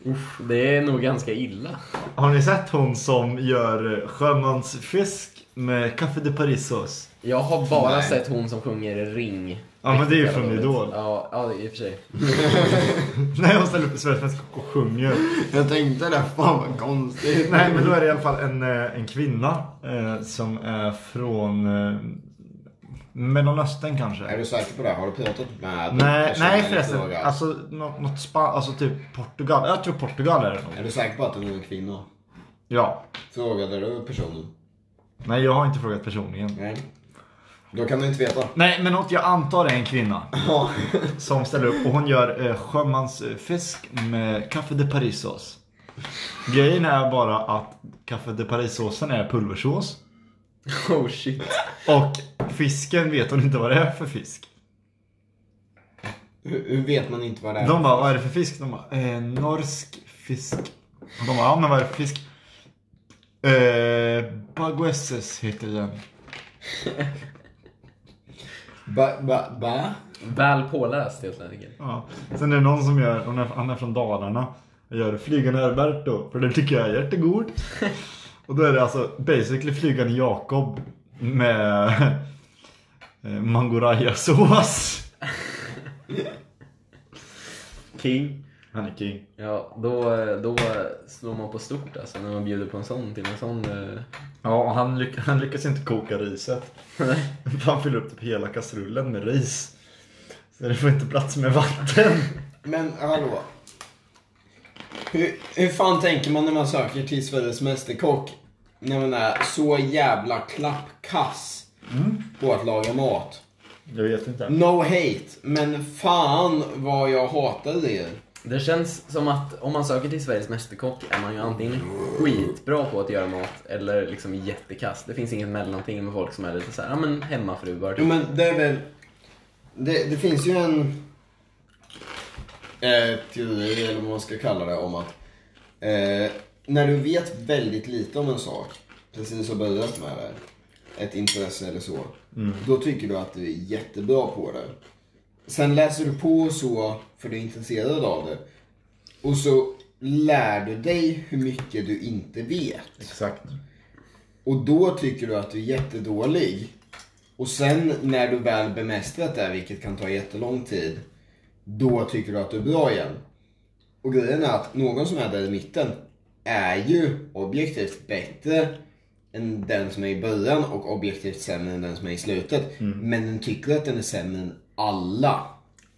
Uff, det är nog ganska illa.
Har ni sett hon som gör sjömansfisk med Café de Paris-sås?
Jag har bara
Nej.
sett hon som sjunger Ring.
Ja, men det är ju
Riktigt
från
jävla dåligt.
Idol.
Ja, ja, i och för sig.
Nej, hon ställer upp i Sveriges Mästerkock och sjunger.
Jag tänkte det, fan vad konstigt.
Nej, men då är det i alla fall en, eh, en kvinna eh, som är från eh, Mellanöstern
Är
kanske.
du säker på det? Har du pratat med
Nej,
personen
nej
i
förresten.
fråga?
Alltså något, något spa, alltså typ Portugal. Jag tror Portugal är det nog.
Är du säker på att det är en kvinna?
Ja.
Frågade du personen?
Nej, jag har inte frågat personligen.
Nej. Då kan du inte veta.
Nej, men något jag antar är en kvinna. som ställer upp och hon gör eh, sjömansfisk med Café de Paris-sås. Grejen är bara att Café de Paris-såsen är pulversås.
Oh shit.
Och fisken vet hon inte vad det är för fisk.
Hur, hur vet man inte vad det är?
De bara, vad är det för fisk? De bara, eh, norsk fisk. Och de bara, ja men vad är det för fisk? Eh, Baguesses heter den.
Ba, ba, ba?
Väl påläst helt enkelt.
Ja. Sen är det någon som gör, hon är, han är från Dalarna, och gör flygande Alberto, för det tycker jag är jättegod. Och då är det alltså basically flygande Jakob med eh, mangorajasås. King. Han är king.
Ja, då, då slår man på stort alltså när man bjuder på en sån till en sån. eh,
Ja, och han, lyck- han lyckas inte koka riset. Han fyller upp typ hela kastrullen med ris. Så det får inte plats med vatten.
Men hallå. Hur, hur fan tänker man när man söker till Sveriges Mästerkock? När man är så jävla klappkass
Mm.
på att laga mat.
Jag vet inte.
No hate, men fan vad jag hatar er.
Det känns som att om man söker till Sveriges Mästerkock är man ju antingen skitbra på att göra mat eller liksom jättekast. Det finns inget mellanting med folk som är lite såhär, ja men hemmafruar
Jo
typ.
men det är väl... Det, det finns ju en... Eh, teori, eller vad man ska kalla det, om att... Eh, när du vet väldigt lite om en sak, precis som börjat med det, ett intresse eller så. Då tycker du att du är jättebra på det. Sen läser du på och så, för du är intresserad av det. Och så lär du dig hur mycket du inte vet.
Exakt.
Och då tycker du att du är jättedålig. Och sen när du väl bemästrat det, vilket kan ta jättelång tid, då tycker du att du är bra igen. Och grejen är att någon som är där i mitten är ju objektivt bättre än den som är i början och objektivt sämre än den som är i slutet.
Mm.
Men den tycker att den är sämre än alla.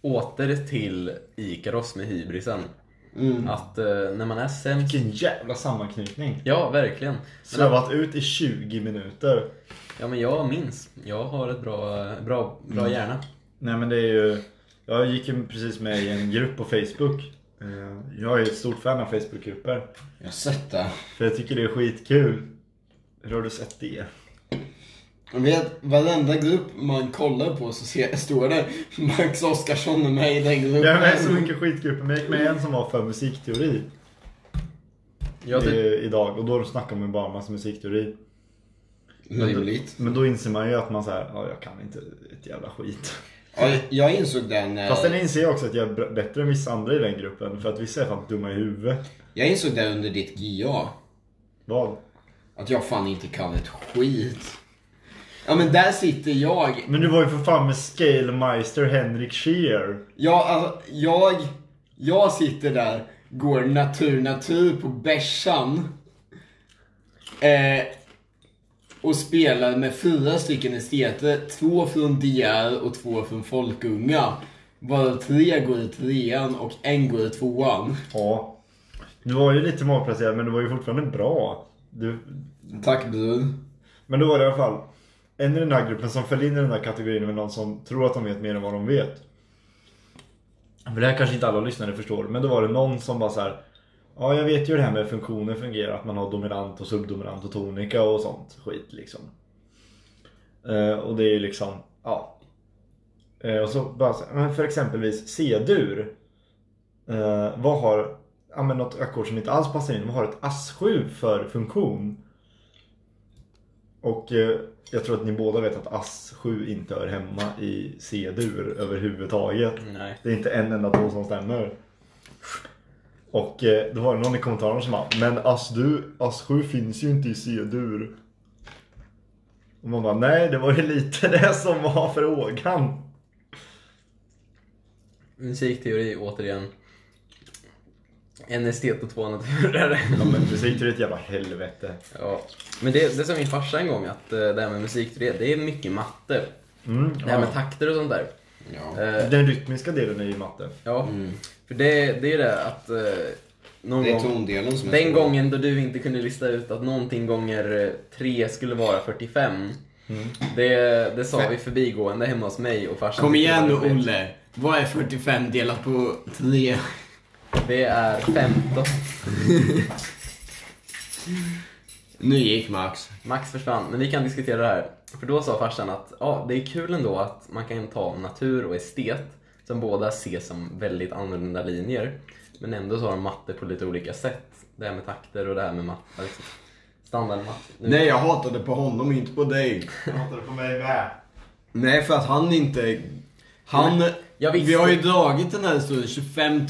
Åter till Ikaros med hybrisen. Att eh, när man är sämst...
Vilken jävla sammanknytning.
Ja, verkligen.
Slövat ut i 20 minuter.
Ja men jag minns. Jag har ett bra, bra, bra hjärna.
Nej men det är ju... Jag gick ju precis med i en grupp på Facebook. Eh, Jag är ju ett stort fan av Facebookgrupper.
Jag har sett det.
För jag tycker det är skitkul. Hur har du sett det?
Jag vet, varenda grupp man kollar på så ser, står det Max Oskarsson är med i den gruppen.
Jag är med i så mycket skitgrupper, men jag gick med i en som var för musikteori
Jag typ,
i, idag. Och då snackade man ju bara om massa musikteori.
Rimligt.
Men då inser man ju att man säger, ja jag kan inte ett jävla skit.
Ja, jag insåg eh, det när...
Fast sen inser jag också att jag är br- bättre än vissa andra i den gruppen. För att vissa är fan dumma i huvudet.
Jag insåg det under ditt GA.
Vad?
Att jag fan inte kan ett skit. Ja men där sitter jag.
Men du var ju för fan med Scalemeister Henrik Scheer.
Jag, alltså, jag, jag sitter där, går natur natur på bärsan. Eh, och spelar med fyra stycken esteter. Två från DR och två från Folkunga. Varav tre går i trean och en går i tvåan.
Ja. Du var ju lite malplacerad men du var ju fortfarande bra. Du...
Tack bror.
Men då var det i alla fall en i den här gruppen som föll in i den här kategorin med någon som tror att de vet mer än vad de vet. För det här kanske inte alla lyssnare förstår, men då var det någon som bara så här. Ja, jag vet ju hur det här med funktioner fungerar, att man har dominant och subdominant och tonika och sånt skit liksom. Eh, och det är ju liksom, ja. Eh, och så bara så här, men för exempelvis C-dur. Eh, vad har, ja men något ackord som inte alls passar in, vad har ett AS7 för funktion? Och eh, jag tror att ni båda vet att AS7 inte hör hemma i C-dur överhuvudtaget.
nej.
Det är inte en enda ton som stämmer. Och eh, då var det någon i kommentarerna som bara Men AS7 as finns ju inte i C-dur. Och man bara nej det var ju lite det som var frågan.
Musikteori återigen. En estet och två naturer.
Ja men musikteori är ett jävla helvete.
ja. Men det, det sa min farsa en gång, att eh, det här med musikteori, det är mycket matte.
Mm,
Det här med takter och sånt där.
Ja.
Eh,
Den rytmiska delen är ju matte.
ja. För det, det är det att eh,
Mm.
någon
Det är
gång...
tondelen som är
Den
svår.
gången då du inte kunde lista ut att någonting gånger 3 skulle vara 45.
Mm.
Det, det sa vi förbigående hemma hos mig och farsan.
Kom
tyckte det
igen nu
var roligt.
Olle. Vad är 45 delat på 3?
Det är 15.
Nu gick Max.
Max försvann, men vi kan diskutera det här. För då sa farsan att ja, det är kul ändå att man kan ta natur och estet som båda ses som väldigt annorlunda linjer. Men ändå så har de matte på lite olika sätt. Det här med takter och det här med matte. Liksom. Standardmatte. Nu-
Nej, jag hatade på honom, inte på dig.
Jag hatar det på mig med.
Nej, för att han inte... Han...
jag visste-
vi har ju dragit den här historien 25 000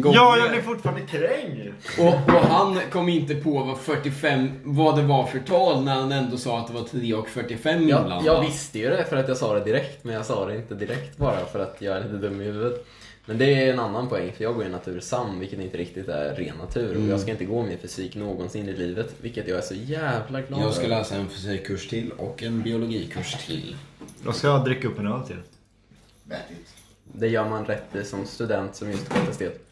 gånger.
Ja, jag blir fortfarande kränkt.
och, och han kom inte på vad, 45, vad det var för tal när han ändå sa att det var 3 och 45
Jag,
inblandat.
jag visste ju det för att jag sa det direkt, men jag sa det inte direkt bara för att jag är lite dum i huvudet. Men det är en annan poäng, för jag går ju natursam, vilket inte riktigt är ren natur. Och jag ska inte gå mer fysik någonsin i livet, vilket jag är så jävla glad
Jag ska
över.
läsa en fysikkurs till och en biologikurs till.
Då ska jag dricka upp en öl till.
Vettigt.
Det gör man rätt i som student som just gått estet.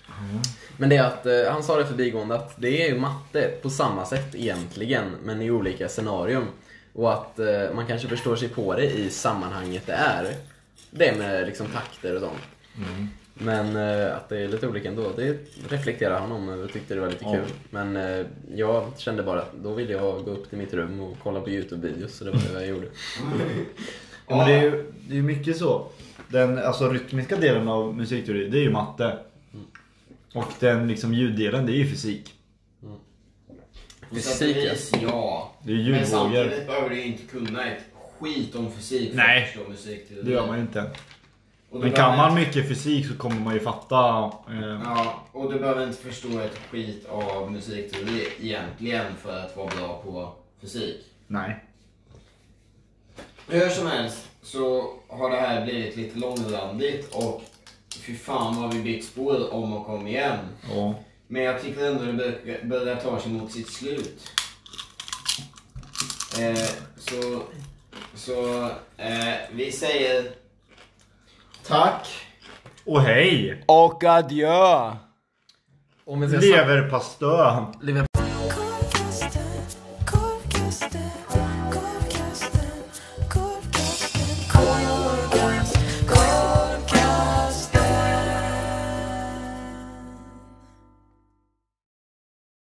Men det är att, eh, han sa det förbigående, att det är ju matte på samma sätt egentligen, men i olika scenarium. Och att eh, man kanske förstår sig på det i sammanhanget det är. Det med liksom takter och sånt. Men eh, att det är lite olika ändå, det reflekterar han om och tyckte det var lite kul. Men eh, jag kände bara att då ville jag gå upp till mitt rum och kolla på YouTube-videos, så det var det jag gjorde.
Ja, men det är ju det är ju mycket så. Den alltså, rytmiska delen av musikteori, det är ju matte.
Mm.
Och den liksom ljuddelen, det är ju fysik.
Fysik, ja.
ja.
Det är
Men
ljudvågor.
samtidigt behöver du ju inte kunna ett skit om fysik för
Nej.
att förstå musik.
Det gör man ju inte.
Och du
Men kan
behöver
man mycket fysik så kommer man ju fatta. Eh,
inte- Ja, och du behöver inte förstå ett skit av musikteori egentligen för att vara bra på fysik.
nej.
Hur som helst så har det här blivit lite långrandigt och fy fan vad vi bytt spår om och om igen.
Ja.
Men jag tycker ändå det bör- börjar ta sig mot sitt slut. Eh, så så eh, vi säger tack.
Och hej!
Och adjö!
Om vi ska
Alltså,
Leverpastö!
Lever